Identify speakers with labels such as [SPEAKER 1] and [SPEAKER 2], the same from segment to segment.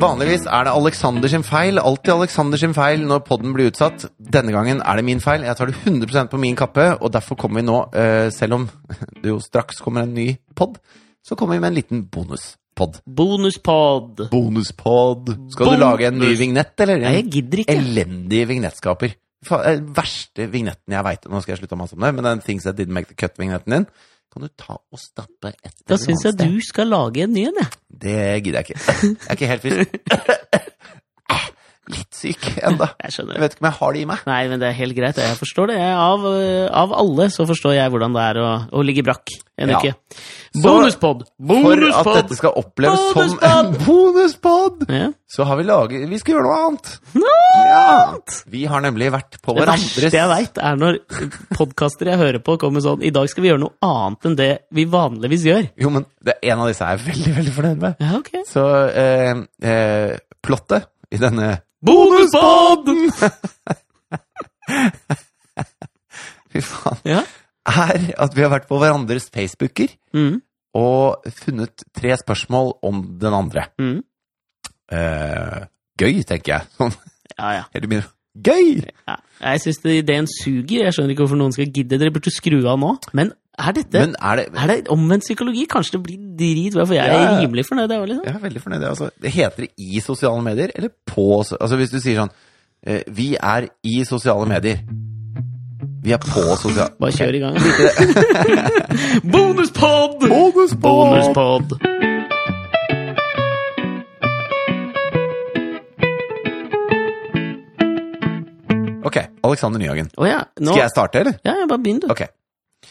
[SPEAKER 1] Vanligvis er det Alexander sin feil, alltid Alexander sin feil når podden blir utsatt. Denne gangen er det min feil. Jeg tar det 100 på min kappe, og derfor kommer vi nå, eh, selv om det jo straks kommer en ny pod, så kommer vi med en liten bonuspod.
[SPEAKER 2] Bonuspod!
[SPEAKER 1] Bonuspod. Skal du
[SPEAKER 2] Bonus.
[SPEAKER 1] lage en ny vignett, eller?
[SPEAKER 2] Nei, jeg gidder ikke.
[SPEAKER 1] Elendig vignettskaper. Fa- eh, verste vignetten jeg veit. Nå skal jeg slutte å mase om det, men den Things That Didn't Make The Cut-vignetten din kan du ta og stappe et
[SPEAKER 2] Da
[SPEAKER 1] eller
[SPEAKER 2] syns
[SPEAKER 1] annet
[SPEAKER 2] jeg du skal lage en ny en, jeg.
[SPEAKER 1] Det gidder jeg ikke. Jeg er ikke helt frisk. Ah, Litt syk enda.
[SPEAKER 2] Jeg
[SPEAKER 1] Jeg
[SPEAKER 2] skjønner.
[SPEAKER 1] vet ikke om jeg har det i meg.
[SPEAKER 2] Nei, men det er helt greit. Jeg forstår det. Jeg, av, eh, av alle så forstår jeg hvordan det er å, å ligge brakk en
[SPEAKER 1] Ja.
[SPEAKER 2] uke.
[SPEAKER 1] Så-
[SPEAKER 2] Bonuspod!
[SPEAKER 1] For at
[SPEAKER 2] Bonuspod!
[SPEAKER 1] dette skal oppleves som en bonuspod,
[SPEAKER 2] Ja.
[SPEAKER 1] så har vi laget Vi skal gjøre noe annet. Ja. Vi har nemlig vært på
[SPEAKER 2] Det verste
[SPEAKER 1] hverandres
[SPEAKER 2] jeg veit, er når podkaster jeg hører på, kommer sånn I dag skal vi gjøre noe annet enn det vi vanligvis gjør.
[SPEAKER 1] Jo, men det, en av disse er jeg veldig, veldig fornøyd med.
[SPEAKER 2] Ja, ok.
[SPEAKER 1] Så eh, eh, plottet i denne
[SPEAKER 2] Bonuspod!
[SPEAKER 1] Fy faen.
[SPEAKER 2] Ja.
[SPEAKER 1] Er at vi har vært på hverandres Facebooker
[SPEAKER 2] Mm,
[SPEAKER 1] og funnet tre spørsmål om den andre.
[SPEAKER 2] mm.
[SPEAKER 1] Eh, gøy, tenker jeg. Sånn
[SPEAKER 2] Ja, ja.
[SPEAKER 1] helt i begynnelsen. Gøy!
[SPEAKER 2] ja. Jeg syns ideen suger. Jeg skjønner ikke hvorfor noen skal gidde. Dere burde skru av nå. Men er dette
[SPEAKER 1] Men er det
[SPEAKER 2] er det omvendt psykologi? Kanskje det blir dritbra, for jeg
[SPEAKER 1] Ja,
[SPEAKER 2] er
[SPEAKER 1] ja.
[SPEAKER 2] rimelig fornøyd. Jeg, liksom.
[SPEAKER 1] Jeg er veldig fornøyd. Altså, det heter det i sosiale medier, eller på so- Altså hvis du sier sånn eh, Vi er i sosiale medier. Vi er på sosiale
[SPEAKER 2] Bare kjør i gang. Bonuspod!
[SPEAKER 1] Bonuspod!
[SPEAKER 2] Bonuspod!
[SPEAKER 1] Ok, Alexander Nyhagen.
[SPEAKER 2] Å ja. Nå
[SPEAKER 1] Skal jeg starte, eller?
[SPEAKER 2] Ja, ja, bare begynn, du.
[SPEAKER 1] Ok.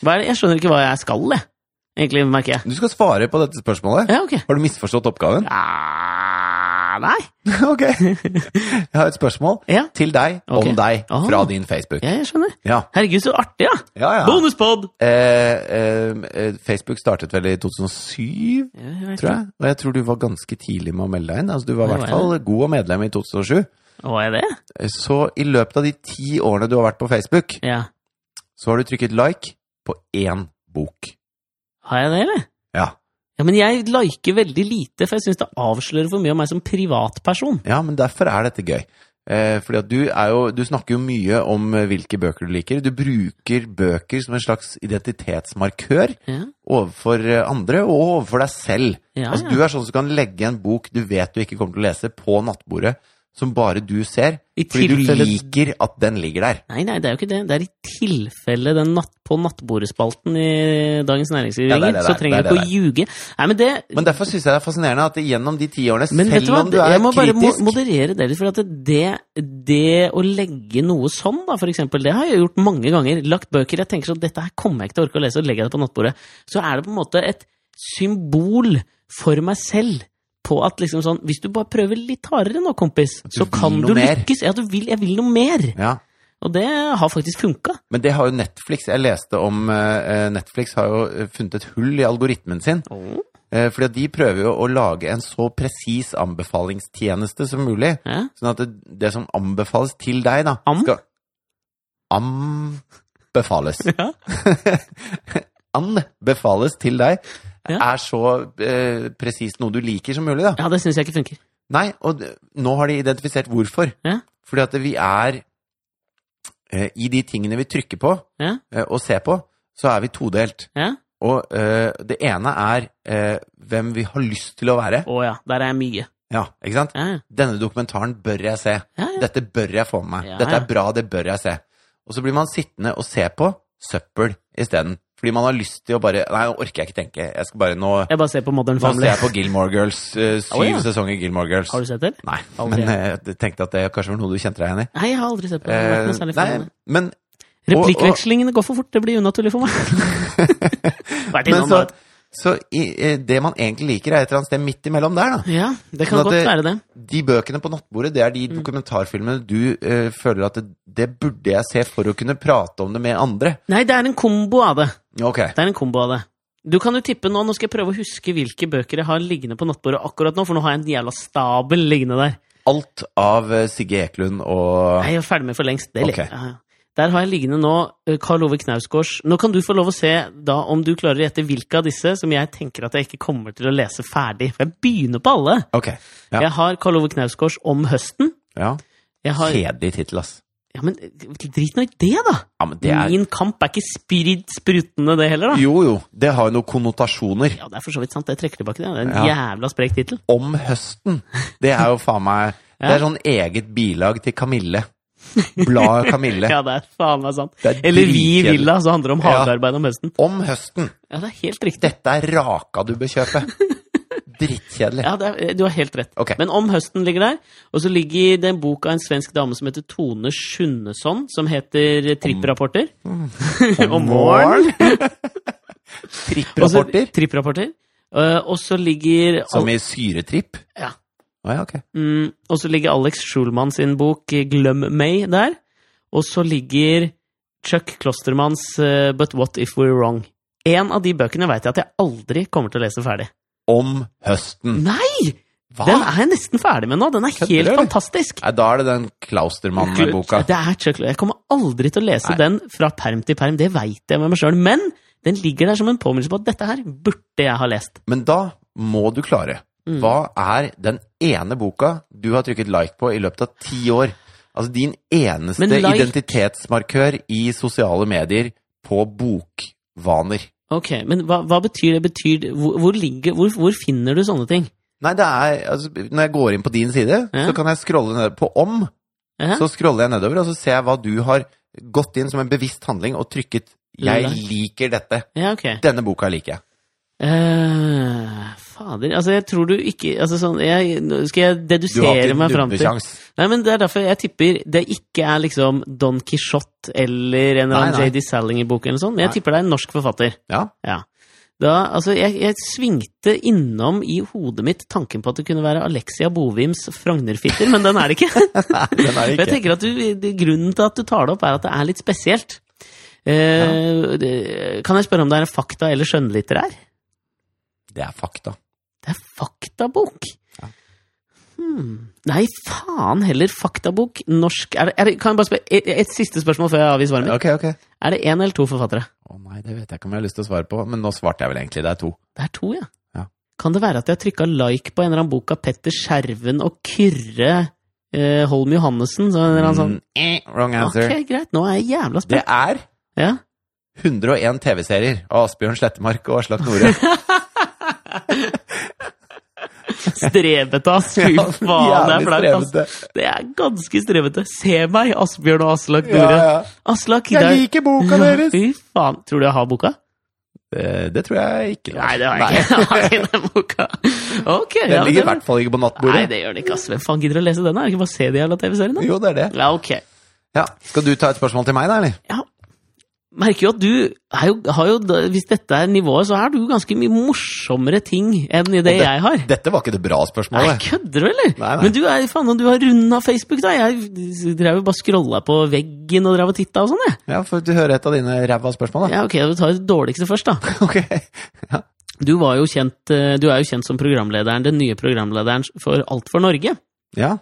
[SPEAKER 2] Hva er det? Jeg skjønner ikke hva jeg skal, jeg. Egentlig, merker jeg.
[SPEAKER 1] Du skal svare på dette spørsmålet.
[SPEAKER 2] Ja, ok.
[SPEAKER 1] Har du misforstått oppgaven?
[SPEAKER 2] Ah, nei.
[SPEAKER 1] ok. Jeg har et spørsmål
[SPEAKER 2] Ja.
[SPEAKER 1] til deg om
[SPEAKER 2] Ok.
[SPEAKER 1] deg
[SPEAKER 2] Ah.
[SPEAKER 1] fra din Facebook.
[SPEAKER 2] ja, jeg skjønner.
[SPEAKER 1] Ja.
[SPEAKER 2] Herregud, så artig, ja!
[SPEAKER 1] Ja, ja.
[SPEAKER 2] Bonuspod!
[SPEAKER 1] Eh, eh, eh, Facebook startet vel i 2007?
[SPEAKER 2] Ja, jeg vet
[SPEAKER 1] tror jeg. Og jeg tror du var ganske tidlig med å melde deg inn. Altså, du var i
[SPEAKER 2] Ja,
[SPEAKER 1] hvert
[SPEAKER 2] var
[SPEAKER 1] fall god medlem i 2007.
[SPEAKER 2] ikke. Hva er det?
[SPEAKER 1] Så i løpet av de ti årene du har vært på Facebook,
[SPEAKER 2] Ja.
[SPEAKER 1] så har du trykket like på én bok.
[SPEAKER 2] Har jeg det, eller?
[SPEAKER 1] Ja,
[SPEAKER 2] Ja, men jeg liker veldig lite, for jeg syns det avslører for mye om meg som privatperson.
[SPEAKER 1] ja men derfor er dette gøy. Eh, fordi at du, er jo, du snakker jo mye om eh, hvilke bøker du liker. Du bruker bøker som en slags identitetsmarkør
[SPEAKER 2] Ja.
[SPEAKER 1] overfor eh, andre og overfor deg selv.
[SPEAKER 2] Ja,
[SPEAKER 1] altså,
[SPEAKER 2] ja.
[SPEAKER 1] du er sånn som kan legge en bok du vet du ikke kommer til å lese, på nattbordet, som bare du ser.
[SPEAKER 2] I
[SPEAKER 1] Fordi du
[SPEAKER 2] tilfelle-
[SPEAKER 1] liker at den ligger der.
[SPEAKER 2] Nei, nei, det er jo ikke det. Det er i tilfelle den natt på nattbordespalten i Dagens Næringsliv
[SPEAKER 1] Ja, det er
[SPEAKER 2] ringer,
[SPEAKER 1] det
[SPEAKER 2] så
[SPEAKER 1] der, det
[SPEAKER 2] trenger du
[SPEAKER 1] er
[SPEAKER 2] ikke å ljuge. Nei, men det
[SPEAKER 1] Men derfor syns jeg det er fascinerende at gjennom de ti årene,
[SPEAKER 2] men vet du
[SPEAKER 1] selv
[SPEAKER 2] hva,
[SPEAKER 1] om du er
[SPEAKER 2] jeg må bare mo-
[SPEAKER 1] kritisk
[SPEAKER 2] moderere det litt, for at det, det å legge noe sånn, da, for eksempel, det har jeg gjort mange ganger. Lagt bøker jeg tenker sånn, dette her kommer jeg ikke til å orke å lese, og legger jeg det på nattbordet. Så er det på en måte et symbol for meg selv på at liksom sånn, hvis du bare prøver litt hardere nå, kompis,
[SPEAKER 1] du
[SPEAKER 2] så
[SPEAKER 1] vil
[SPEAKER 2] kan
[SPEAKER 1] noe
[SPEAKER 2] du
[SPEAKER 1] mer.
[SPEAKER 2] lykkes. Ja, du vil, jeg vil noe mer.
[SPEAKER 1] ja.
[SPEAKER 2] Og det har faktisk funka.
[SPEAKER 1] Men det har jo Netflix. Jeg leste om eh, Netflix har jo eh, funnet et hull i algoritmen sin. Eh, fordi at de prøver jo å lage en så presis anbefalingstjeneste som mulig.
[SPEAKER 2] Ja.
[SPEAKER 1] Sånn at det, det som anbefales til deg, da
[SPEAKER 2] Am?
[SPEAKER 1] skal Anbefales.
[SPEAKER 2] Ja.
[SPEAKER 1] Anbefales til deg
[SPEAKER 2] Ja.
[SPEAKER 1] er så eh, presist noe du liker som mulig, da.
[SPEAKER 2] Ja, det syns jeg ikke funker.
[SPEAKER 1] Nei, og d- nå har de identifisert hvorfor.
[SPEAKER 2] Ja.
[SPEAKER 1] Fordi at vi er eh, I de tingene vi trykker på
[SPEAKER 2] Ja.
[SPEAKER 1] eh, og ser på, så er vi todelt.
[SPEAKER 2] Ja.
[SPEAKER 1] Og eh, det ene er eh, hvem vi har lyst til å være.
[SPEAKER 2] Å ja, der er jeg mye.
[SPEAKER 1] Ja, ikke sant?
[SPEAKER 2] Ja, ja.
[SPEAKER 1] Denne dokumentaren bør jeg se.
[SPEAKER 2] Ja, ja.
[SPEAKER 1] Dette bør jeg få med meg.
[SPEAKER 2] Ja,
[SPEAKER 1] Dette
[SPEAKER 2] ja.
[SPEAKER 1] er bra, det bør jeg se. Og så blir man sittende og se på søppel isteden. Fordi man har lyst til å bare Nei, nå orker jeg ikke tenke. Jeg skal bare nå
[SPEAKER 2] Jeg bare ser på Modern
[SPEAKER 1] Nå ser
[SPEAKER 2] Family.
[SPEAKER 1] jeg på Gilmore Girls. eh, syv
[SPEAKER 2] Å, ja.
[SPEAKER 1] sesonger Gilmore Girls.
[SPEAKER 2] Har du sett det?
[SPEAKER 1] Nei,
[SPEAKER 2] Aldri.
[SPEAKER 1] men eh, jeg tenkte at det kanskje var noe du kjente deg igjen i.
[SPEAKER 2] Nei, jeg har aldri sett på det. Jeg har
[SPEAKER 1] Eh,
[SPEAKER 2] ikke noe særlig
[SPEAKER 1] nei,
[SPEAKER 2] fan av det.
[SPEAKER 1] men,
[SPEAKER 2] Replikkvekslingene går for fort, det blir unaturlig for meg. Vært
[SPEAKER 1] men
[SPEAKER 2] innom
[SPEAKER 1] så,
[SPEAKER 2] da.
[SPEAKER 1] så i, eh, det man egentlig liker, er et eller annet sted midt imellom der, da.
[SPEAKER 2] Ja, det
[SPEAKER 1] Men
[SPEAKER 2] kan
[SPEAKER 1] sånn at
[SPEAKER 2] godt
[SPEAKER 1] det-
[SPEAKER 2] være det.
[SPEAKER 1] De bøkene på nattbordet, det er de
[SPEAKER 2] Mm.
[SPEAKER 1] dokumentarfilmene du eh, føler at det, det burde jeg se for å kunne prate om det med andre.
[SPEAKER 2] Nei, det er en kombo av det.
[SPEAKER 1] Ok.
[SPEAKER 2] Det er en kombo av det. Du kan jo tippe nå, nå skal jeg prøve å huske hvilke bøker jeg har liggende på nattbordet akkurat nå, for nå har jeg en jævla stabel liggende der.
[SPEAKER 1] Alt av eh, Sigge Eklund og
[SPEAKER 2] Nei, jeg er ferdig med for lengst. Det,
[SPEAKER 1] Ok.
[SPEAKER 2] okay. Der har jeg liggende nå eh, Karl Ove Knausgårds Nå kan du få lov å se da om du klarer å gjette hvilke av disse som jeg tenker at jeg ikke kommer til å lese ferdig. For jeg begynner på alle.
[SPEAKER 1] Ok. Ja.
[SPEAKER 2] Jeg har Karl Ove Knausgårds Om høsten.
[SPEAKER 1] ja.
[SPEAKER 2] Jeg har,
[SPEAKER 1] Kjedelig tittel, ass.
[SPEAKER 2] ja, men eh, drit nå i det, da!
[SPEAKER 1] Ja, men det er
[SPEAKER 2] Min kamp er ikke spirit sprutende, det heller, da.
[SPEAKER 1] Jo, jo. Det har jo noen konnotasjoner.
[SPEAKER 2] Ja, det er for så vidt sant. Jeg trekker tilbake det. Det er en
[SPEAKER 1] Ja.
[SPEAKER 2] jævla sprek tittel.
[SPEAKER 1] Om høsten. Det er jo faen meg Det er sånn eget bilag til Kamille. Bladet Kamille.
[SPEAKER 2] Ja, det er faen meg sant.
[SPEAKER 1] Det er
[SPEAKER 2] Eller Vi i
[SPEAKER 1] dritkjedelig.
[SPEAKER 2] Villa, så handler det om
[SPEAKER 1] Ja.
[SPEAKER 2] hagearbeid om høsten.
[SPEAKER 1] Om høsten.
[SPEAKER 2] Ja, det er helt riktig.
[SPEAKER 1] Dette er raka du bør kjøpe. Drittkjedelig.
[SPEAKER 2] Ja, det er, du har helt rett.
[SPEAKER 1] Ok.
[SPEAKER 2] Men Om høsten ligger der. Og så ligger det en bok av en svensk dame som heter Tone Skunneson, som heter Tripprapporter.
[SPEAKER 1] Mm.
[SPEAKER 2] Om Også-
[SPEAKER 1] Tripprapporter.
[SPEAKER 2] Tripprapporter. Eh, Og så ligger
[SPEAKER 1] Som i syretripp?
[SPEAKER 2] Ja.
[SPEAKER 1] Å ja, ok.
[SPEAKER 2] Mm, og så ligger Alex Schulman sin bok eh, 'Glem meg' der. Og så ligger Chuck Klostermanns eh, 'But What If We're Wrong'. En av de bøkene veit jeg at jeg aldri kommer til å lese ferdig.
[SPEAKER 1] Om høsten.
[SPEAKER 2] Nei!
[SPEAKER 1] Hva?
[SPEAKER 2] Den er jeg nesten ferdig med nå. Den er
[SPEAKER 1] Ah. Kødder
[SPEAKER 2] helt
[SPEAKER 1] du?
[SPEAKER 2] fantastisk.
[SPEAKER 1] Nei, da er det den Klaustermann-boka.
[SPEAKER 2] Det er Chuck Lorre. Jeg kommer aldri til å lese
[SPEAKER 1] Nei.
[SPEAKER 2] den fra perm til perm, det veit jeg med meg sjøl. Men den ligger der som en påminnelse på at dette her burde jeg ha lest.
[SPEAKER 1] Men da må du klare.
[SPEAKER 2] Mm.
[SPEAKER 1] Hva er den ene boka du har trykket like på i løpet av ti år? Altså din eneste
[SPEAKER 2] Men like-
[SPEAKER 1] identitetsmarkør i sosiale medier på bokvaner.
[SPEAKER 2] Ok, Men hva, hva betyr det? Betyr, det- hvor, hvor, ligger, hvor, hvor finner du sånne ting?
[SPEAKER 1] Nei, det er altså, Når jeg går inn på din side,
[SPEAKER 2] Ja.
[SPEAKER 1] så kan jeg scrolle ned på om.
[SPEAKER 2] Ja.
[SPEAKER 1] Så scroller jeg nedover, og så ser jeg hva du har gått inn som en bevisst handling og trykket 'Jeg
[SPEAKER 2] Like.
[SPEAKER 1] liker dette'.
[SPEAKER 2] Ja, ok.
[SPEAKER 1] Denne boka liker jeg.
[SPEAKER 2] Eh, fader, altså jeg tror du ikke altså sånn, jeg, nå Skal jeg
[SPEAKER 1] Du har
[SPEAKER 2] dedusere
[SPEAKER 1] ikke
[SPEAKER 2] meg fram til
[SPEAKER 1] nubbesjans.
[SPEAKER 2] Nei, men Det er derfor jeg tipper det ikke er liksom Don Quijote eller en eller
[SPEAKER 1] Nei,
[SPEAKER 2] annen
[SPEAKER 1] nei.
[SPEAKER 2] J.D. Salinger-bok, eller noe sånt, men jeg
[SPEAKER 1] Nei.
[SPEAKER 2] tipper det er en norsk forfatter.
[SPEAKER 1] Ja.
[SPEAKER 2] Ja. Da, altså, jeg, jeg svingte innom i hodet mitt tanken på at det kunne være Alexia Bovims Frognerfitter, men den er det ikke.
[SPEAKER 1] Den er det
[SPEAKER 2] Jeg
[SPEAKER 1] ikke.
[SPEAKER 2] tenker at du, det- Grunnen til at du tar det opp, er at det er litt spesielt. Eh, det- Kan jeg spørre om det er en fakta- eller skjønnlitterær?
[SPEAKER 1] Det er fakta.
[SPEAKER 2] Det er faktabok. Hmm. Nei, faen heller. Faktabok, norsk er det, er det, Kan jeg bare spørre et, et siste spørsmål før jeg avgir svaret mitt?
[SPEAKER 1] Ok, ok.
[SPEAKER 2] Er det én eller to forfattere?
[SPEAKER 1] Å nei, det vet jeg ikke om jeg har lyst til å svare på, men nå svarte jeg vel egentlig. Det er to.
[SPEAKER 2] Det er to, ja.
[SPEAKER 1] Ja.
[SPEAKER 2] Kan det være at jeg har trykka like på en eller annen bok av Petter Skjerven og Kyrre eh, Holm Johannessen? Så en eller annen sånn
[SPEAKER 1] Mm, eh, wrong answer.
[SPEAKER 2] Ok, greit, nå er jeg jævla
[SPEAKER 1] Det
[SPEAKER 2] spent.
[SPEAKER 1] er
[SPEAKER 2] Ja.
[SPEAKER 1] 101 TV-serier av Asbjørn Slettemark og Aslak Nore.
[SPEAKER 2] Strebete, ass! Fy
[SPEAKER 1] Ja,
[SPEAKER 2] faen, det er
[SPEAKER 1] jævlig
[SPEAKER 2] flaut, ass.
[SPEAKER 1] strevete.
[SPEAKER 2] Det er ganske strevete. Se meg, Asbjørn og Aslak
[SPEAKER 1] Ja,
[SPEAKER 2] Nore.
[SPEAKER 1] ja.
[SPEAKER 2] Aslak,
[SPEAKER 1] Jeg
[SPEAKER 2] der-
[SPEAKER 1] liker boka deres!
[SPEAKER 2] Fy faen. Tror du jeg har boka?
[SPEAKER 1] Eh, Det tror jeg ikke.
[SPEAKER 2] Nei, det har jeg ikke. Nei, den boka. Ok,
[SPEAKER 1] Den
[SPEAKER 2] ja,
[SPEAKER 1] ligger i
[SPEAKER 2] det-
[SPEAKER 1] hvert fall ikke på
[SPEAKER 2] Nei,
[SPEAKER 1] nattbordet.
[SPEAKER 2] det gjør den ikke, ass. Hvem faen gidder å lese den? da? Er det ikke bare å se de jævla TV-seriene?
[SPEAKER 1] Jo, det er det.
[SPEAKER 2] Ja, ok.
[SPEAKER 1] Ja. Skal du ta et spørsmål til meg, da, eller?
[SPEAKER 2] Ja. Merker jo at du er jo, har jo da- Hvis dette er nivået, så er du ganske mye morsommere ting enn i det,
[SPEAKER 1] det-
[SPEAKER 2] jeg har.
[SPEAKER 1] Dette var ikke det bra
[SPEAKER 2] Nei,
[SPEAKER 1] spørsmålet.
[SPEAKER 2] kødder du, eller?
[SPEAKER 1] Nei, nei.
[SPEAKER 2] Men du er faen, og du har runda Facebook, da. Jeg drev jo bare scrolla på veggen og drev og titta og sånn, jeg.
[SPEAKER 1] Ja, får du høre et av dine ræva spørsmål, da.
[SPEAKER 2] Ja, ok, vi tar det dårligste først, da.
[SPEAKER 1] Ok.
[SPEAKER 2] Du, var jo kjent, eh, du er jo kjent som programlederen, den nye programlederen for Alt for Norge.
[SPEAKER 1] Ja.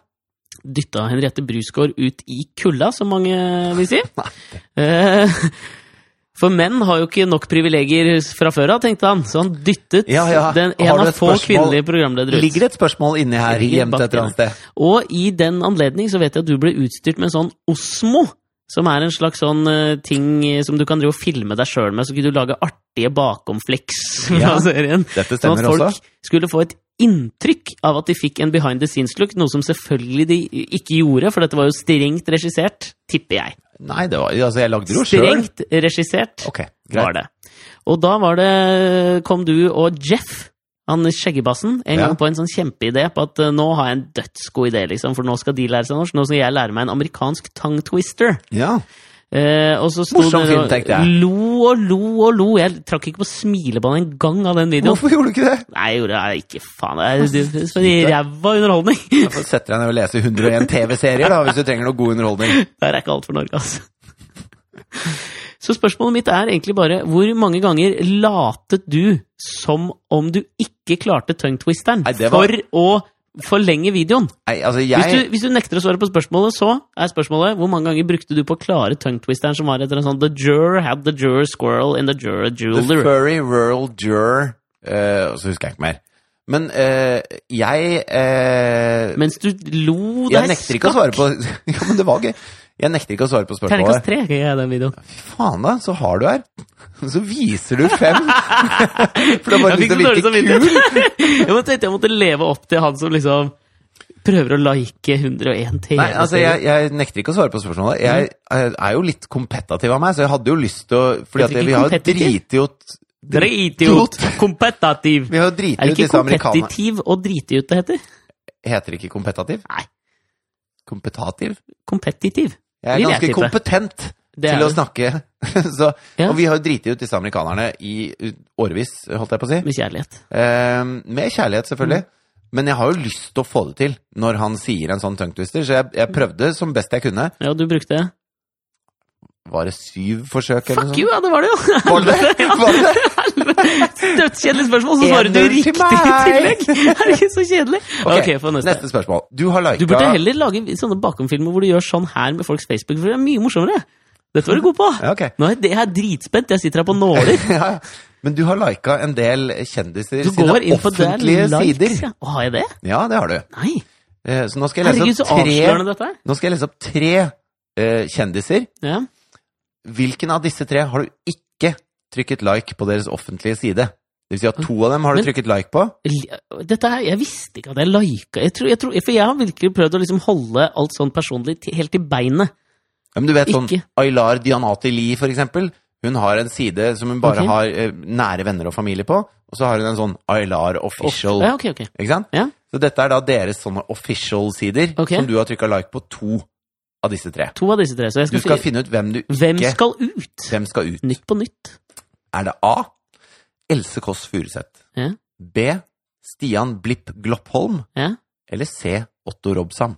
[SPEAKER 2] dytta Henriette Brusgaard ut i kulda, som mange vil si. Eh, For menn har jo ikke nok privilegier fra før av, tenkte han, så han dyttet
[SPEAKER 1] Ja, ja.
[SPEAKER 2] den en
[SPEAKER 1] Har du
[SPEAKER 2] av
[SPEAKER 1] et
[SPEAKER 2] få
[SPEAKER 1] spørsmål?
[SPEAKER 2] kvinnelige programledere ut.
[SPEAKER 1] Ligger det et spørsmål inni her,
[SPEAKER 2] Ligger
[SPEAKER 1] gjemt
[SPEAKER 2] bak
[SPEAKER 1] et eller annet sted?
[SPEAKER 2] Og i den anledning så vet jeg at du ble utstyrt med en sånn Osmo. Som er en slags sånn eh, ting som du kan drive og filme deg sjøl med, så kunne du lage artige bakomflex fra
[SPEAKER 1] Ja.
[SPEAKER 2] serien.
[SPEAKER 1] Dette
[SPEAKER 2] Sånn at
[SPEAKER 1] stemmer
[SPEAKER 2] folk
[SPEAKER 1] også.
[SPEAKER 2] skulle få et inntrykk av at de fikk en behind the scenes-look, noe som selvfølgelig de ikke gjorde, for dette var jo strengt regissert, tipper jeg.
[SPEAKER 1] Nei, det var, altså, jeg lagde det jo sjøl.
[SPEAKER 2] Strengt regissert
[SPEAKER 1] Ok,
[SPEAKER 2] var
[SPEAKER 1] greit.
[SPEAKER 2] det. Og da var det, kom du og Jeff, han skjeggebassen, en
[SPEAKER 1] Ja.
[SPEAKER 2] gang på en sånn kjempeidé på at eh, nå har jeg en dødsgod idé, liksom, for nå skal de lære seg norsk, nå skal jeg lære meg en amerikansk tongue twister.
[SPEAKER 1] Ja.
[SPEAKER 2] Eh, og så sto
[SPEAKER 1] Morsom
[SPEAKER 2] dere
[SPEAKER 1] film,
[SPEAKER 2] og
[SPEAKER 1] tenkte jeg.
[SPEAKER 2] Lo og lo og lo. Jeg trakk ikke på smilebåndet en gang av den videoen.
[SPEAKER 1] Hvorfor gjorde du ikke det?
[SPEAKER 2] Nei, jeg gjorde det ikke faen. Det er- det er for en ræva underholdning.
[SPEAKER 1] Derfor setter jeg ned og leser 101 TV-serier, da, hvis du trenger noe god underholdning.
[SPEAKER 2] Det er ikke alt for Norge, altså. Så spørsmålet mitt er egentlig bare hvor mange ganger latet du som om du ikke klarte tongue-twisteren
[SPEAKER 1] Nei, det var-
[SPEAKER 2] for å Forlenge videoen.
[SPEAKER 1] Nei, altså
[SPEAKER 2] Hvis
[SPEAKER 1] jeg
[SPEAKER 2] du, hvis du nekter å svare på spørsmålet, så er spørsmålet hvor mange ganger brukte du på å klare tongue-twisteren som var etter en sånn The juror had the juror squirrel in the juror
[SPEAKER 1] The
[SPEAKER 2] jeweler.
[SPEAKER 1] Furry Rural Juror eh, Og så husker jeg ikke mer. Men eh, jeg eh,
[SPEAKER 2] Mens du lo deg
[SPEAKER 1] Jeg nekter ikke å svare på Ja, men det var gøy. Jeg nekter ikke å svare på
[SPEAKER 2] Terningkast
[SPEAKER 1] spørsmålet.
[SPEAKER 2] tre ga jeg den videoen.
[SPEAKER 1] Fy faen, da. Så har du her. Så viser du fem. For du har bare
[SPEAKER 2] Jeg
[SPEAKER 1] lyst
[SPEAKER 2] fikk
[SPEAKER 1] til å
[SPEAKER 2] så dårlig
[SPEAKER 1] virke kul.
[SPEAKER 2] samvittighet. Jeg bare tenkte jeg måtte leve opp til han som liksom prøver å like 101 TV.
[SPEAKER 1] Nei, altså jeg, jeg nekter ikke å svare på spørsmålet. Jeg
[SPEAKER 2] Mhm.
[SPEAKER 1] jeg er jo litt kompetativ av meg, så jeg hadde jo lyst til å Fordi
[SPEAKER 2] Jeg
[SPEAKER 1] at
[SPEAKER 2] tenker
[SPEAKER 1] vi har
[SPEAKER 2] kompetitiv.
[SPEAKER 1] driti ut
[SPEAKER 2] Drit ut! Kompetativ!
[SPEAKER 1] Vi har jo
[SPEAKER 2] Er
[SPEAKER 1] driti
[SPEAKER 2] det
[SPEAKER 1] ut
[SPEAKER 2] ikke
[SPEAKER 1] disse amerikanerne
[SPEAKER 2] kompetitiv og drite ut det heter?
[SPEAKER 1] Heter det ikke kompetativ?
[SPEAKER 2] Nei.
[SPEAKER 1] Kompetativ?
[SPEAKER 2] Kompetitiv.
[SPEAKER 1] Jeg er
[SPEAKER 2] Vil jeg
[SPEAKER 1] ganske
[SPEAKER 2] tippe.
[SPEAKER 1] kompetent
[SPEAKER 2] Det
[SPEAKER 1] til
[SPEAKER 2] er
[SPEAKER 1] å
[SPEAKER 2] det.
[SPEAKER 1] snakke. så,
[SPEAKER 2] Ja.
[SPEAKER 1] Og vi har jo driti ut disse amerikanerne i årevis, holdt jeg på å si.
[SPEAKER 2] Med kjærlighet.
[SPEAKER 1] Eh, med kjærlighet,
[SPEAKER 2] Mm.
[SPEAKER 1] selvfølgelig. Men jeg har jo lyst til å få det til når han sier en sånn tongue twister, så jeg, jeg prøvde som best jeg kunne.
[SPEAKER 2] Ja, du brukte det.
[SPEAKER 1] Var det syv forsøk eller noe
[SPEAKER 2] Fuck you, ja, det var det jo!
[SPEAKER 1] sånt? sånn? Var det? Var det?
[SPEAKER 2] Dødskjedelig spørsmål, så svarer du
[SPEAKER 1] 1-0 til
[SPEAKER 2] riktig i
[SPEAKER 1] meg!
[SPEAKER 2] tillegg! Er det ikke så kjedelig?
[SPEAKER 1] Ok,
[SPEAKER 2] Ok, få neste.
[SPEAKER 1] Neste spørsmål. Du har
[SPEAKER 2] Du burde
[SPEAKER 1] lika
[SPEAKER 2] heller lage sånne bakomfilmer hvor du gjør sånn her med folks Facebook, for det er mye morsommere. Dette var du god på.
[SPEAKER 1] Ja, ok.
[SPEAKER 2] Nå er det- jeg er dritspent, jeg sitter her på nåler.
[SPEAKER 1] ja, men du har lika en del kjendiser
[SPEAKER 2] Du
[SPEAKER 1] sine
[SPEAKER 2] går inn på der
[SPEAKER 1] offentlige sider.
[SPEAKER 2] Ja. Å, Har jeg det?
[SPEAKER 1] Ja, det har du.
[SPEAKER 2] Nei.
[SPEAKER 1] Eh, Så nå skal jeg
[SPEAKER 2] Herregud,
[SPEAKER 1] lese
[SPEAKER 2] så
[SPEAKER 1] opp tre,
[SPEAKER 2] avslørende dette er.
[SPEAKER 1] nå skal jeg lese opp tre eh, kjendiser.
[SPEAKER 2] Ja.
[SPEAKER 1] Hvilken av disse tre har du ikke trykket like på deres offentlige side? Det vil si at to av dem har du
[SPEAKER 2] Men-
[SPEAKER 1] trykket like på.
[SPEAKER 2] Li- Dette her, Jeg visste ikke at jeg lika jeg tror, jeg tror, For jeg har virkelig prøvd å liksom holde alt sånn personlig til, helt til beinet.
[SPEAKER 1] Ja, Men du vet sånn
[SPEAKER 2] Ikke.
[SPEAKER 1] Aylar Dianati Lee, for eksempel. Hun har en side som hun bare
[SPEAKER 2] Ok.
[SPEAKER 1] har eh, nære venner og familie på, og så har hun en sånn Aylar Official.
[SPEAKER 2] Ja, ok, ok.
[SPEAKER 1] Ikke sant?
[SPEAKER 2] Ja.
[SPEAKER 1] Så dette er da deres sånne official-sider,
[SPEAKER 2] Ok.
[SPEAKER 1] som du har trykka like på to av disse tre.
[SPEAKER 2] To av disse tre. Så jeg
[SPEAKER 1] Du
[SPEAKER 2] skal,
[SPEAKER 1] skal
[SPEAKER 2] fi-
[SPEAKER 1] finne ut hvem du ikke
[SPEAKER 2] Hvem skal ut?
[SPEAKER 1] hvem skal ut.
[SPEAKER 2] Nytt på nytt.
[SPEAKER 1] Er det A. Else Kåss Furuseth.
[SPEAKER 2] Ja.
[SPEAKER 1] B. Stian Blipp Gloppholm.
[SPEAKER 2] Ja.
[SPEAKER 1] Eller C. Otto Robsam.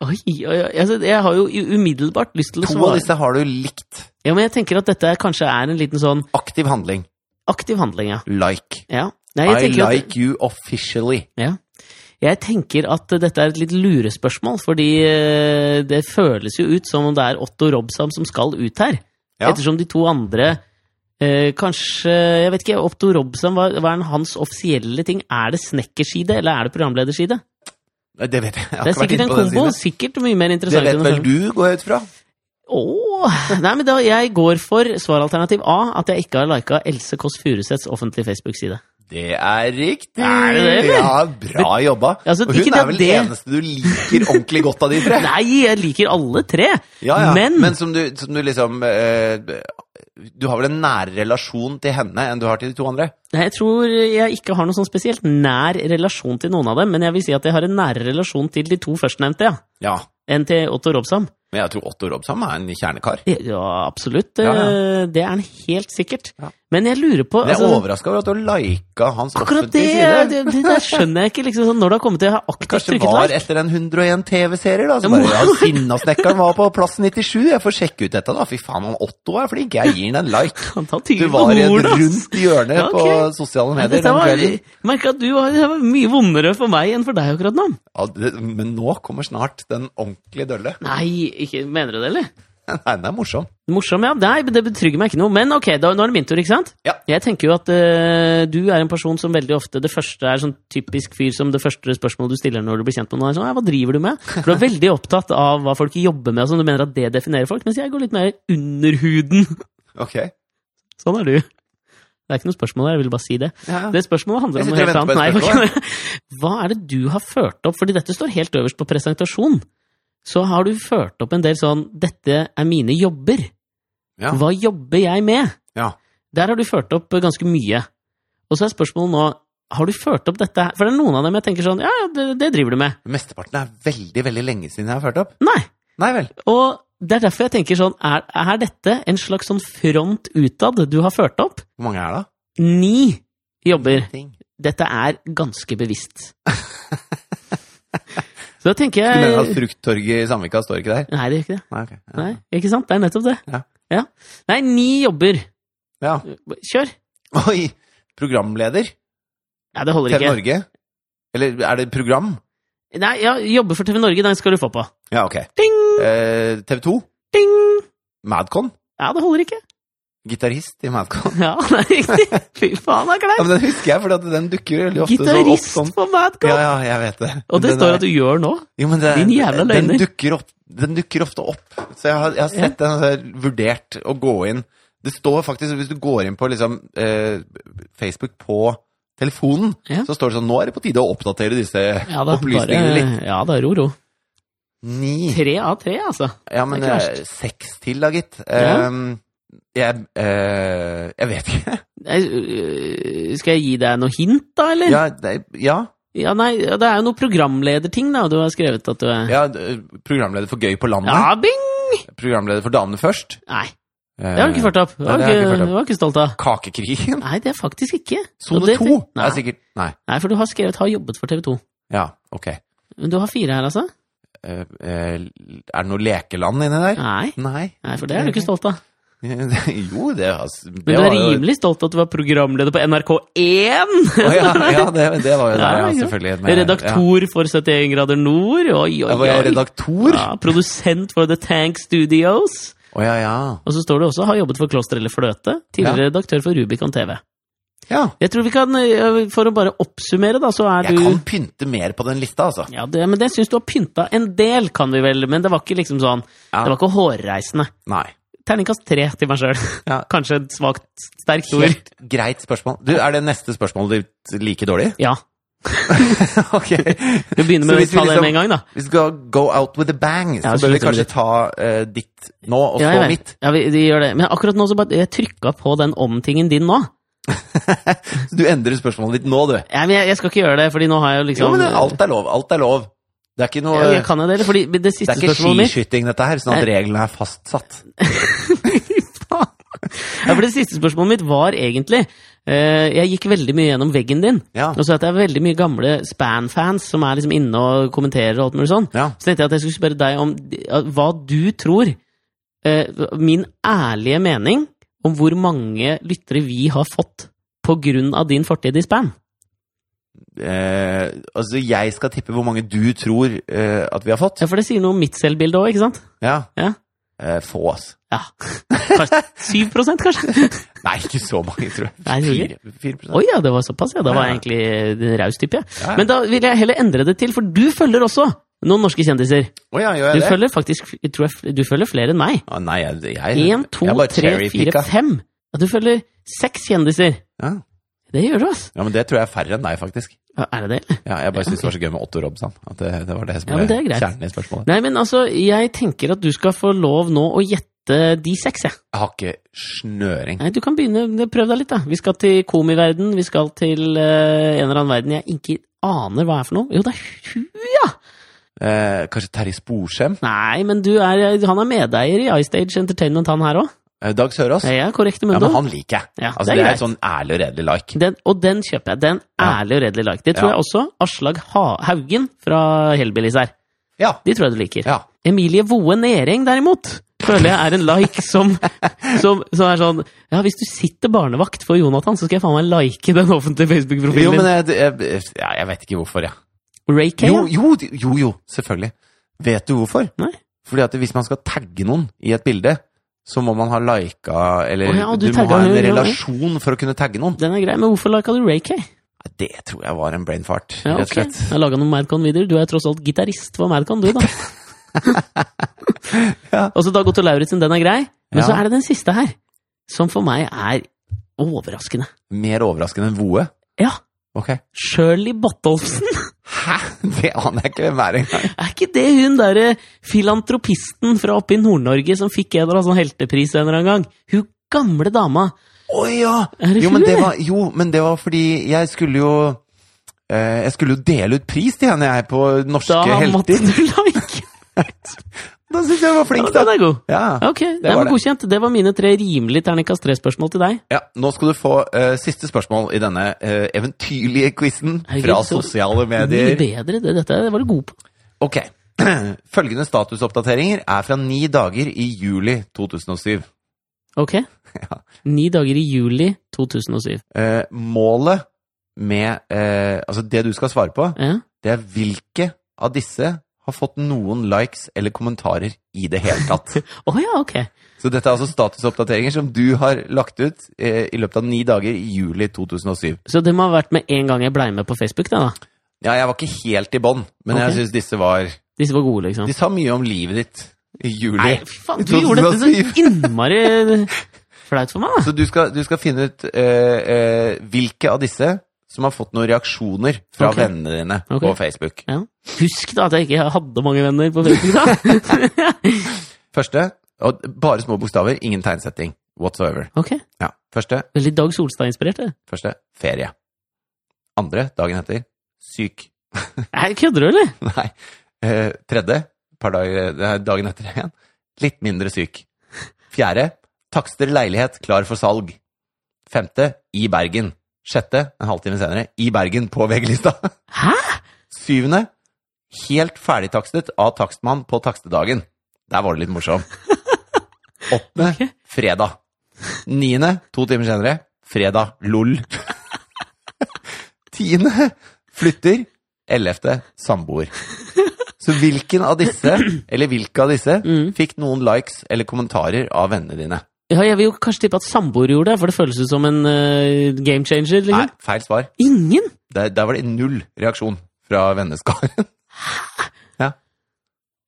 [SPEAKER 2] Oi, oi, oi. Altså, jeg har jo u- umiddelbart lyst til å
[SPEAKER 1] To av
[SPEAKER 2] svare.
[SPEAKER 1] disse har du likt.
[SPEAKER 2] Ja, men jeg tenker at dette kanskje er en liten sånn
[SPEAKER 1] Aktiv handling.
[SPEAKER 2] aktiv handling, ja.
[SPEAKER 1] Like.
[SPEAKER 2] ja. Nei, jeg
[SPEAKER 1] I
[SPEAKER 2] tenker at-
[SPEAKER 1] like you officially.
[SPEAKER 2] Ja. Jeg tenker at dette er et litt lurespørsmål, fordi eh, det føles jo ut som om det er Otto Robsam som skal ut her.
[SPEAKER 1] Ja.
[SPEAKER 2] Ettersom de to andre eh, kanskje Jeg vet ikke, Otto Robsam, hva, hva er hans offisielle ting? Er det snekkerside, eller er det programlederside?
[SPEAKER 1] Nei, Det vet jeg. jeg har
[SPEAKER 2] Det er
[SPEAKER 1] ikke vært
[SPEAKER 2] sikkert
[SPEAKER 1] inne
[SPEAKER 2] en
[SPEAKER 1] på den
[SPEAKER 2] kombo.
[SPEAKER 1] siden.
[SPEAKER 2] Sikkert mye mer
[SPEAKER 1] Det
[SPEAKER 2] interessant.
[SPEAKER 1] vet
[SPEAKER 2] enn å
[SPEAKER 1] vel
[SPEAKER 2] følge-
[SPEAKER 1] du, går jeg ut fra.
[SPEAKER 2] Åh, nei, men da, jeg går for svaralternativ A, at jeg ikke har lika Else Kåss Furuseths offentlige Facebook-side.
[SPEAKER 1] Det er riktig!
[SPEAKER 2] Er det det, eller?
[SPEAKER 1] Ja, bra jobba.
[SPEAKER 2] Altså,
[SPEAKER 1] og
[SPEAKER 2] ikke
[SPEAKER 1] hun
[SPEAKER 2] det
[SPEAKER 1] er
[SPEAKER 2] at
[SPEAKER 1] vel
[SPEAKER 2] det-
[SPEAKER 1] eneste du liker ordentlig godt av de tre.
[SPEAKER 2] Nei, jeg liker alle tre!
[SPEAKER 1] Ja, ja. Men,
[SPEAKER 2] Men,
[SPEAKER 1] som, du, som du liksom eh, Du har vel en nære relasjon til henne enn du har til de to andre?
[SPEAKER 2] Nei, jeg tror jeg ikke har noen sånn spesielt nær relasjon til noen av dem, men jeg vil si at jeg har en nærere relasjon til de to førstnevnte, ja.
[SPEAKER 1] Ja.
[SPEAKER 2] Enn til Otto Robsam.
[SPEAKER 1] Men jeg tror Otto Robsam er en kjernekar.
[SPEAKER 2] Ja, absolutt.
[SPEAKER 1] Ja,
[SPEAKER 2] eh, Det er han helt sikkert.
[SPEAKER 1] Ja.
[SPEAKER 2] Men jeg lurer på
[SPEAKER 1] Men jeg er
[SPEAKER 2] altså,
[SPEAKER 1] overraska over at du lika hans
[SPEAKER 2] Akkurat det,
[SPEAKER 1] offentlige side.
[SPEAKER 2] det, det der skjønner jeg ikke, liksom, sånn, når det har kommet til å ha aktivt
[SPEAKER 1] Kanskje det
[SPEAKER 2] trykket
[SPEAKER 1] var
[SPEAKER 2] like.
[SPEAKER 1] etter en 101 TV-serier, da. Så
[SPEAKER 2] Ja, må-
[SPEAKER 1] bare, ja, Sinnasnekkeren var på plass 97. Jeg får sjekke ut dette, da. Fy faen, han Otto er flink. Jeg gir han en like.
[SPEAKER 2] Han tar
[SPEAKER 1] Du
[SPEAKER 2] tydelig
[SPEAKER 1] var i et
[SPEAKER 2] ord, ass.
[SPEAKER 1] rundt hjørne
[SPEAKER 2] Ja, ok.
[SPEAKER 1] på sosiale
[SPEAKER 2] Ja,
[SPEAKER 1] medier
[SPEAKER 2] Dette
[SPEAKER 1] den
[SPEAKER 2] var,
[SPEAKER 1] kvelden.
[SPEAKER 2] jeg merker at du var, det var mye vondere for meg enn for deg akkurat nå.
[SPEAKER 1] Ja, det, men nå kommer snart den ordentlige dølle.
[SPEAKER 2] Nei, ikke, mener du det, eller?
[SPEAKER 1] Nei, den er morsom.
[SPEAKER 2] Morsom, ja. Nei, men det betrygger meg ikke noe. Men ok, da, nå er det min tur, ikke sant?
[SPEAKER 1] Ja.
[SPEAKER 2] Jeg tenker jo at eh, du er en person som veldig ofte Det første er sånn typisk fyr som det første spørsmålet du stiller når du blir kjent med noen, er sånn «Nei, Hva driver du med? For du er veldig opptatt av hva folk jobber med, og sånn. Du mener at det definerer folk. Mens jeg går litt mer under huden.
[SPEAKER 1] Ok.
[SPEAKER 2] Sånn er du. Det er ikke noe spørsmål her, jeg ville bare si det.
[SPEAKER 1] Ja.
[SPEAKER 2] Det spørsmålet handler
[SPEAKER 1] Jeg
[SPEAKER 2] om noe
[SPEAKER 1] sitter
[SPEAKER 2] helt
[SPEAKER 1] og
[SPEAKER 2] annet. Nei,
[SPEAKER 1] venter på et
[SPEAKER 2] jeg får ikke- hva er det du har ført opp? Fordi dette står helt øverst på presentasjon. Så har du ført opp en del sånn 'Dette er mine jobber'.
[SPEAKER 1] Ja.
[SPEAKER 2] Hva jobber jeg med?
[SPEAKER 1] ja.
[SPEAKER 2] Der har du ført opp ganske mye. Og så er spørsmålet nå har du ført opp dette her? For det er noen av dem jeg tenker sånn Ja, ja, det, det driver du med.
[SPEAKER 1] Mesteparten er veldig, veldig lenge siden jeg har ført opp.
[SPEAKER 2] Nei.
[SPEAKER 1] Nei vel.
[SPEAKER 2] Og det er derfor jeg tenker sånn Er, er dette en slags sånn front utad du har ført opp?
[SPEAKER 1] Hvor mange er det? da?
[SPEAKER 2] Ni jobber.
[SPEAKER 1] Ting.
[SPEAKER 2] Dette er ganske bevisst. Så da tenker
[SPEAKER 1] Du mener at
[SPEAKER 2] jeg
[SPEAKER 1] Frukttorget i Sandvika står ikke der?
[SPEAKER 2] Nei, det gjør ikke det.
[SPEAKER 1] Nei, ok. altså- Ja.
[SPEAKER 2] Nei, ikke sant? Det er nettopp det.
[SPEAKER 1] Ja.
[SPEAKER 2] Nei, ni jobber.
[SPEAKER 1] Ja.
[SPEAKER 2] Kjør.
[SPEAKER 1] Oi! Programleder
[SPEAKER 2] Nei, det holder
[SPEAKER 1] TV
[SPEAKER 2] ikke.
[SPEAKER 1] Norge? Eller er det program?
[SPEAKER 2] Nei, ja, jobber for TV Norge, den skal du få på.
[SPEAKER 1] Ja, ok.
[SPEAKER 2] Ding,
[SPEAKER 1] Eh, TV 2?
[SPEAKER 2] ding!
[SPEAKER 1] Madcon?
[SPEAKER 2] Ja, det holder ikke.
[SPEAKER 1] Gitarist i Madcon?
[SPEAKER 2] Ja, det er riktig. Fy faen,
[SPEAKER 1] Ja,
[SPEAKER 2] det er kleint.
[SPEAKER 1] men Den husker jeg, for den dukker jo veldig ofte så opp
[SPEAKER 2] Gitarist
[SPEAKER 1] sånn.
[SPEAKER 2] på Madcon!
[SPEAKER 1] Ja, ja, jeg vet det.
[SPEAKER 2] Og det
[SPEAKER 1] Den
[SPEAKER 2] står
[SPEAKER 1] er-
[SPEAKER 2] at du gjør nå.
[SPEAKER 1] jo, men det,
[SPEAKER 2] Din jævla løgner.
[SPEAKER 1] Den dukker, opp, den dukker ofte opp. Så jeg har, jeg har sett den, og så har jeg vurdert å gå inn. Det står faktisk, hvis du går inn på liksom, eh, Facebook på telefonen,
[SPEAKER 2] Ja.
[SPEAKER 1] så står det sånn Nå er det på tide å oppdatere disse
[SPEAKER 2] Ja da,
[SPEAKER 1] opplysningene litt.
[SPEAKER 2] bare- ja da, ro, ro.
[SPEAKER 1] Ni
[SPEAKER 2] Tre av tre, altså.
[SPEAKER 1] Ja, men
[SPEAKER 2] Det er ikke
[SPEAKER 1] eh, seks til, da, gitt.
[SPEAKER 2] Ja.
[SPEAKER 1] Ehm, jeg, eh, jeg vet ikke.
[SPEAKER 2] Nei, øh, Skal jeg gi deg noe hint, da, eller? Ja,
[SPEAKER 1] Ja, det, ja,
[SPEAKER 2] nei, ja, det er jo noe programlederting, da, og du har skrevet at du er
[SPEAKER 1] ja, d- programleder for Gøy på landet.
[SPEAKER 2] Ja, bing!
[SPEAKER 1] Programleder for Damene først.
[SPEAKER 2] Nei, det har du ikke ført opp.
[SPEAKER 1] Eh,
[SPEAKER 2] Det
[SPEAKER 1] Nei, det har
[SPEAKER 2] var
[SPEAKER 1] jeg ikke
[SPEAKER 2] ikke,
[SPEAKER 1] ført opp.
[SPEAKER 2] det var ikke stolt av.
[SPEAKER 1] Kakekrigen.
[SPEAKER 2] Nei, det er faktisk ikke. Og
[SPEAKER 1] Sone
[SPEAKER 2] det-
[SPEAKER 1] to. Det
[SPEAKER 2] Nei.
[SPEAKER 1] er sikkert Nei.
[SPEAKER 2] Nei, for du har skrevet 'har jobbet for TV 2'.
[SPEAKER 1] Ja, ok.
[SPEAKER 2] Men du har fire her, altså?
[SPEAKER 1] Eh, eh, er det noe lekeland inni der?
[SPEAKER 2] Nei,
[SPEAKER 1] Nei.
[SPEAKER 2] nei for det er du ikke stolt av.
[SPEAKER 1] jo, det, altså, det
[SPEAKER 2] Men du er
[SPEAKER 1] var jo-
[SPEAKER 2] rimelig stolt at du var programleder på NRK1!
[SPEAKER 1] Å, ja, ja det, det var jo der,
[SPEAKER 2] Ja,
[SPEAKER 1] ja,
[SPEAKER 2] ikke sant.
[SPEAKER 1] selvfølgelig. Men-
[SPEAKER 2] Redaktor for 71 grader nord. Oi,
[SPEAKER 1] Ja.
[SPEAKER 2] oi,
[SPEAKER 1] Var jeg
[SPEAKER 2] oi.
[SPEAKER 1] redaktor? Å ja.
[SPEAKER 2] Ja, produsent for The Tank Studios.
[SPEAKER 1] ja, ja.
[SPEAKER 2] Og så står det også 'har jobbet for Kloster eller Fløte'. Tidligere redaktør for Rubicon TV. Jeg tror vi kan, ø, For å bare oppsummere, da, så er
[SPEAKER 1] Jeg
[SPEAKER 2] du
[SPEAKER 1] kan pynte mer på den lista, altså.
[SPEAKER 2] ja, det, men Det syns du har pynta en del, kan vi vel, men det var ikke liksom sånn
[SPEAKER 1] Ja.
[SPEAKER 2] Det var ikke hårreisende.
[SPEAKER 1] Nei.
[SPEAKER 2] Terningkast tre til meg sjøl.
[SPEAKER 1] Ja.
[SPEAKER 2] Kanskje et svakt, sterkt ord.
[SPEAKER 1] Helt greit spørsmål. Du, er det neste spørsmålet ditt like dårlig?
[SPEAKER 2] Ja.
[SPEAKER 1] ok.
[SPEAKER 2] Du begynner
[SPEAKER 1] Så
[SPEAKER 2] med å
[SPEAKER 1] hvis vi
[SPEAKER 2] ta det
[SPEAKER 1] liksom-
[SPEAKER 2] med en gang, da.
[SPEAKER 1] Vi skal go out with a bang, så
[SPEAKER 2] Ja,
[SPEAKER 1] bør vi
[SPEAKER 2] slutter med
[SPEAKER 1] kanskje
[SPEAKER 2] det.
[SPEAKER 1] ta eh, ditt nå, og så
[SPEAKER 2] Ja, jeg vet.
[SPEAKER 1] mitt.
[SPEAKER 2] Ja, vi, de gjør det. Men akkurat nå så bare Jeg trykka på den om-tingen din nå.
[SPEAKER 1] Så du endrer spørsmålet ditt nå, du.
[SPEAKER 2] Ja, men jeg, jeg skal ikke gjøre det, fordi nå har jeg jo liksom
[SPEAKER 1] Jo, men det- alt er lov. Alt er lov. Det er ikke noe
[SPEAKER 2] Ja, jeg kan jo det, eller? fordi det
[SPEAKER 1] Det
[SPEAKER 2] siste
[SPEAKER 1] er ikke
[SPEAKER 2] spørsmålet mitt
[SPEAKER 1] skiskyting, dette her, sånn at reglene er fastsatt.
[SPEAKER 2] Ja, for det siste spørsmålet mitt var egentlig eh, Jeg gikk veldig mye gjennom veggen din.
[SPEAKER 1] Ja.
[SPEAKER 2] Og så at det er veldig mye gamle Span-fans som er liksom inne og kommenterer og alt mulig sånn.
[SPEAKER 1] Ja.
[SPEAKER 2] Så tenkte jeg at jeg skulle spørre deg om de- at hva du tror eh, Min ærlige mening om hvor mange lyttere vi har fått på grunn av din fortid i Span.
[SPEAKER 1] Eh, altså, jeg skal tippe hvor mange du tror eh, at vi har fått.
[SPEAKER 2] Ja, for det sier noe om mitt selvbilde òg, ikke sant?
[SPEAKER 1] Ja.
[SPEAKER 2] Ja.
[SPEAKER 1] Eh, få, ass.
[SPEAKER 2] Ja. Kanskje 7 kanskje?
[SPEAKER 1] Nei, ikke så mange, tror jeg.
[SPEAKER 2] Nei, tror ikke.
[SPEAKER 1] Fire- fire prosent.
[SPEAKER 2] Oi ja, det var såpass, ja. Da var jeg egentlig raus type, jeg.
[SPEAKER 1] Ja, ja.
[SPEAKER 2] Men da vil jeg heller endre det til, for du følger også noen norske kjendiser.
[SPEAKER 1] Å ja, gjør
[SPEAKER 2] Du
[SPEAKER 1] jeg det?
[SPEAKER 2] følger faktisk jeg tror jeg, du følger flere enn meg.
[SPEAKER 1] Å, nei, jeg, jeg,
[SPEAKER 2] Én, to,
[SPEAKER 1] jeg bare
[SPEAKER 2] tre, fire,
[SPEAKER 1] cherrypicka.
[SPEAKER 2] fem. Ja, du følger seks kjendiser.
[SPEAKER 1] Ja.
[SPEAKER 2] Det gjør du, ass.
[SPEAKER 1] ja, men det tror jeg er færre enn deg, faktisk.
[SPEAKER 2] Ja, Er det det? eller?
[SPEAKER 1] Ja, jeg bare synes det var så gøy med Otto Robson. At det, det var det som
[SPEAKER 2] Ja,
[SPEAKER 1] ble
[SPEAKER 2] men det er greit.
[SPEAKER 1] kjernen i spørsmålet.
[SPEAKER 2] Nei, men altså, jeg tenker at du skal få lov nå å gjette de seks, jeg.
[SPEAKER 1] Jeg har ikke snøring.
[SPEAKER 2] Nei, du kan begynne. Prøv deg litt, da. Vi skal til komiverden, vi skal til eh, en eller annen verden jeg ikke aner hva er for noe. Jo, det er hun, ja!
[SPEAKER 1] Eh, kanskje Terje Sporsem?
[SPEAKER 2] Nei, men du er, han er medeier i iStage Entertainment, han her òg.
[SPEAKER 1] Eh, Dag Sørås?
[SPEAKER 2] Ja, korrekt,
[SPEAKER 1] Ja,
[SPEAKER 2] Mundo.
[SPEAKER 1] men han liker jeg.
[SPEAKER 2] Ja,
[SPEAKER 1] altså,
[SPEAKER 2] det er
[SPEAKER 1] det er
[SPEAKER 2] greit.
[SPEAKER 1] et sånn ærlig og redelig like.
[SPEAKER 2] den, og den kjøper jeg. Den
[SPEAKER 1] Ja.
[SPEAKER 2] ærlig og redelig like. Det tror
[SPEAKER 1] Ja.
[SPEAKER 2] jeg også Aslag ha Haugen fra Hellbillies er.
[SPEAKER 1] Ja.
[SPEAKER 2] De tror jeg du liker.
[SPEAKER 1] ja.
[SPEAKER 2] Emilie Voe Nering, derimot, føler jeg er en like som, som, som er sånn Ja, hvis du sitter barnevakt for Jonathan, så skal jeg faen meg like den
[SPEAKER 1] Jo,
[SPEAKER 2] offentlige
[SPEAKER 1] men
[SPEAKER 2] Facebook-profilen din.
[SPEAKER 1] jeg, jeg, ja, jeg vet ikke hvorfor, jeg.
[SPEAKER 2] Ray Kay,
[SPEAKER 1] Jo,
[SPEAKER 2] ja.
[SPEAKER 1] jo, jo, jo, selvfølgelig. Vet du hvorfor?
[SPEAKER 2] Nei.
[SPEAKER 1] Fordi at hvis man skal tagge noen i et bilde, så må man ha lika, eller
[SPEAKER 2] Å ja, og
[SPEAKER 1] du,
[SPEAKER 2] du
[SPEAKER 1] må
[SPEAKER 2] tagget
[SPEAKER 1] ha en
[SPEAKER 2] hun, ja, ja.
[SPEAKER 1] relasjon for å kunne tagge noen.
[SPEAKER 2] Den er grei, men hvorfor lika du Ray Kay?
[SPEAKER 1] Nei, Det tror jeg var en brain fart,
[SPEAKER 2] Ja,
[SPEAKER 1] rett og
[SPEAKER 2] ok.
[SPEAKER 1] slett.
[SPEAKER 2] Jeg laga noen Madcon-videoer. Du er tross alt gitarist for Madcon, du, da.
[SPEAKER 1] Ja.
[SPEAKER 2] Og så Dag Otto Lauritzen, den er grei. Men
[SPEAKER 1] Ja.
[SPEAKER 2] så er det den siste her, som for meg er overraskende.
[SPEAKER 1] Mer overraskende enn Voe.
[SPEAKER 2] Ja,
[SPEAKER 1] Ok.
[SPEAKER 2] Shirley Bottolfsen!
[SPEAKER 1] Hæ? Det aner jeg ikke hvem er engang.
[SPEAKER 2] Er ikke det hun derre filantropisten fra oppe i Nord-Norge som fikk en eller annen sånn heltepris en eller annen gang? Hun gamle dama!
[SPEAKER 1] Å ja!
[SPEAKER 2] Er det
[SPEAKER 1] Jo men,
[SPEAKER 2] hun,
[SPEAKER 1] det
[SPEAKER 2] eller?
[SPEAKER 1] var, jo, men det var fordi jeg skulle jo eh, Jeg skulle jo dele ut pris til henne, jeg, på norske
[SPEAKER 2] Da måtte
[SPEAKER 1] helter.
[SPEAKER 2] du like!
[SPEAKER 1] Da syns jeg hun var flink, da.
[SPEAKER 2] Den er god!
[SPEAKER 1] Ja.
[SPEAKER 2] Ja, Ok, det
[SPEAKER 1] var
[SPEAKER 2] var
[SPEAKER 1] det.
[SPEAKER 2] godkjent. Det var mine tre rimelige terningkast tre-spørsmål til deg.
[SPEAKER 1] ja. Nå skal du få eh, siste spørsmål i denne eh, eventyrlige quizen
[SPEAKER 2] Herregud,
[SPEAKER 1] fra
[SPEAKER 2] så-
[SPEAKER 1] sosiale
[SPEAKER 2] Mye
[SPEAKER 1] medier.
[SPEAKER 2] bedre, det, dette var du god på.
[SPEAKER 1] Ok. Følgende statusoppdateringer er fra ni dager i juli 2007.
[SPEAKER 2] Ok?
[SPEAKER 1] Ja.
[SPEAKER 2] Ni dager i juli 2007.
[SPEAKER 1] Eh, målet med eh, Altså, det du skal svare på,
[SPEAKER 2] Ja.
[SPEAKER 1] det er hvilke av disse har fått noen likes eller kommentarer i det hele tatt.
[SPEAKER 2] Å ja, ok.
[SPEAKER 1] Så dette er altså statusoppdateringer som du har lagt ut eh, i løpet av ni dager i juli 2007.
[SPEAKER 2] Så det må ha vært med en gang jeg blei med på Facebook, det da.
[SPEAKER 1] Ja, jeg var ikke helt i bånn, men
[SPEAKER 2] Ok.
[SPEAKER 1] jeg syns disse var
[SPEAKER 2] Disse var gode, liksom.
[SPEAKER 1] De sa mye om livet ditt i juli.
[SPEAKER 2] Nei, fy faen, du
[SPEAKER 1] Jeg trodde du
[SPEAKER 2] gjorde dette
[SPEAKER 1] var
[SPEAKER 2] så innmari flaut for meg, da.
[SPEAKER 1] Så du skal, du skal finne ut eh, eh, hvilke av disse som har fått noen reaksjoner fra
[SPEAKER 2] Ok.
[SPEAKER 1] vennene dine
[SPEAKER 2] Ok.
[SPEAKER 1] på Facebook.
[SPEAKER 2] Ja. Husk da at jeg ikke hadde mange venner på Facebook, da.
[SPEAKER 1] Første og Bare små bokstaver, ingen tegnsetting whatsoever.
[SPEAKER 2] Ok.
[SPEAKER 1] Ja. Første
[SPEAKER 2] Veldig Dag Solstad-inspirert, det.
[SPEAKER 1] Første ferie. Andre dagen etter syk.
[SPEAKER 2] Nei, kødder du, eller?
[SPEAKER 1] Nei. Eh, tredje par dager, det er dagen etter igjen litt mindre syk. Fjerde takster leilighet klar for salg. Femte i Bergen. Sjette en halvtime senere i Bergen på VG-lista.
[SPEAKER 2] Hæ?
[SPEAKER 1] Syvende helt ferdigtakstet av takstmann på takstedagen. Der var det litt morsom. Åttende fredag. Niende to timer senere fredag lol. Tiende flytter. Ellevte samboer. Så hvilken av disse, eller hvilke av disse,
[SPEAKER 2] Mm.
[SPEAKER 1] fikk noen likes eller kommentarer av vennene dine?
[SPEAKER 2] Ja, jeg vil jo kanskje tippe at samboer gjorde det, for det føles ut som en eh, game changer,
[SPEAKER 1] Nei,
[SPEAKER 2] liksom.
[SPEAKER 1] feil svar.
[SPEAKER 2] Ingen?
[SPEAKER 1] Der, der var det null reaksjon fra venneskaren.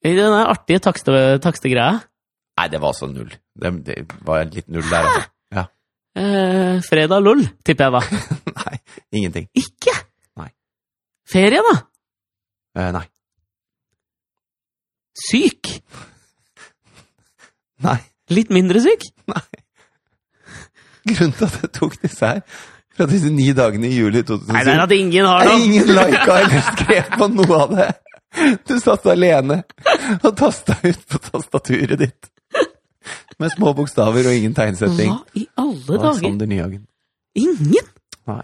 [SPEAKER 2] I Den der artige takste, takstegreia.
[SPEAKER 1] Nei, det var altså null. Det, det var litt null der, altså. Ja.
[SPEAKER 2] Eh, fredag lol, tipper jeg da.
[SPEAKER 1] Nei, ingenting.
[SPEAKER 2] Ikke?
[SPEAKER 1] Nei.
[SPEAKER 2] Ferie, da?
[SPEAKER 1] Eh, nei.
[SPEAKER 2] Syk?
[SPEAKER 1] Nei.
[SPEAKER 2] Litt mindre syk?
[SPEAKER 1] Grunnen til at jeg tok disse her fra disse ni dagene i juli
[SPEAKER 2] Nei, det er
[SPEAKER 1] 2007
[SPEAKER 2] at ingen har
[SPEAKER 1] er
[SPEAKER 2] noe.
[SPEAKER 1] Ingen lika eller skrev på noe av det. Du satt alene og tasta ut på tastaturet ditt. Med små bokstaver og ingen tegnsetting.
[SPEAKER 2] Hva i alle dager?
[SPEAKER 1] Alexander Nyhagen.
[SPEAKER 2] Ingen?
[SPEAKER 1] Nei.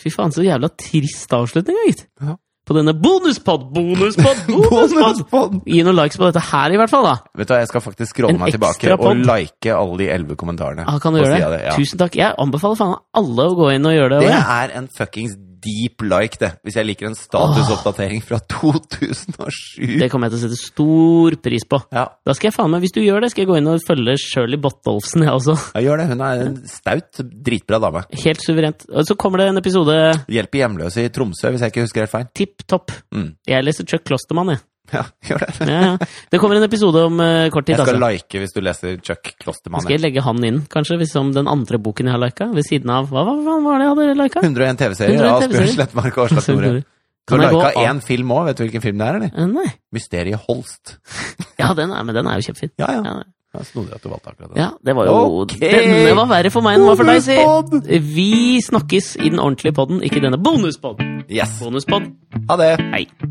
[SPEAKER 2] Fy faen, så jævla trist avslutning, da, gitt.
[SPEAKER 1] Ja.
[SPEAKER 2] På denne bonuspod, bonuspod, bonuspod!
[SPEAKER 1] Bonuspodd!
[SPEAKER 2] Gi noen likes på dette her, i hvert fall, da.
[SPEAKER 1] Vet du hva, jeg skal faktisk scrolle
[SPEAKER 2] En
[SPEAKER 1] meg tilbake
[SPEAKER 2] ekstra
[SPEAKER 1] og
[SPEAKER 2] podd.
[SPEAKER 1] like alle de elleve kommentarene.
[SPEAKER 2] Ah, kan du
[SPEAKER 1] på siden
[SPEAKER 2] gjøre det?
[SPEAKER 1] av ja.
[SPEAKER 2] Tusen takk. Jeg anbefaler faen alle å gå inn og gjøre det.
[SPEAKER 1] Det
[SPEAKER 2] også, jeg.
[SPEAKER 1] er en fuckings deep like, det. Hvis jeg liker en statusoppdatering fra 2007.
[SPEAKER 2] Det kommer jeg til å sette stor pris på.
[SPEAKER 1] Ja,
[SPEAKER 2] Da skal jeg faen meg, Hvis du gjør det, skal jeg gå inn og følge Shirley Bottolfsen, jeg også.
[SPEAKER 1] ja, gjør det. Hun er en staut, dritbra dame.
[SPEAKER 2] Helt suverent. Og så kommer det en episode
[SPEAKER 1] Hjelper hjemløse i Tromsø, hvis jeg ikke husker helt feil.
[SPEAKER 2] tipp topp.
[SPEAKER 1] Mm.
[SPEAKER 2] Jeg leser Chuck Klostermann, jeg.
[SPEAKER 1] Ja, gjør det.
[SPEAKER 2] Ja, ja. Det kommer en episode om eh, kort tid.
[SPEAKER 1] Jeg skal
[SPEAKER 2] altså.
[SPEAKER 1] like hvis du leser Chuck Klostermann.
[SPEAKER 2] Skal jeg legge han inn, kanskje, hvis som den andre boken jeg har lika? Ved siden av Hva, hva, hva var det jeg hadde lika?
[SPEAKER 1] 101 TV-serier
[SPEAKER 2] 101
[SPEAKER 1] av Asbjørn
[SPEAKER 2] TV-serier.
[SPEAKER 1] Slettmark og Aslak Nore. Du
[SPEAKER 2] Kan
[SPEAKER 1] har
[SPEAKER 2] jeg gå
[SPEAKER 1] lika
[SPEAKER 2] av-
[SPEAKER 1] én film òg, vet du hvilken film det er, eller?
[SPEAKER 2] Eh, Nei.
[SPEAKER 1] Mysteriet Holst.
[SPEAKER 2] Ja, den er, men den er jo kjempefin.
[SPEAKER 1] Ja, ja.
[SPEAKER 2] Ja, nei.
[SPEAKER 1] ja Snodig at du valgte akkurat den.
[SPEAKER 2] ja det var jo
[SPEAKER 1] Ok.
[SPEAKER 2] Denne var verre for meg enn den var for deg,
[SPEAKER 1] Bonuspodd!
[SPEAKER 2] si! Vi snakkes i den ordentlige podden, ikke denne bonuspodden.
[SPEAKER 1] Yes.
[SPEAKER 2] Bonuspodd.
[SPEAKER 1] Ha det.
[SPEAKER 2] Hei.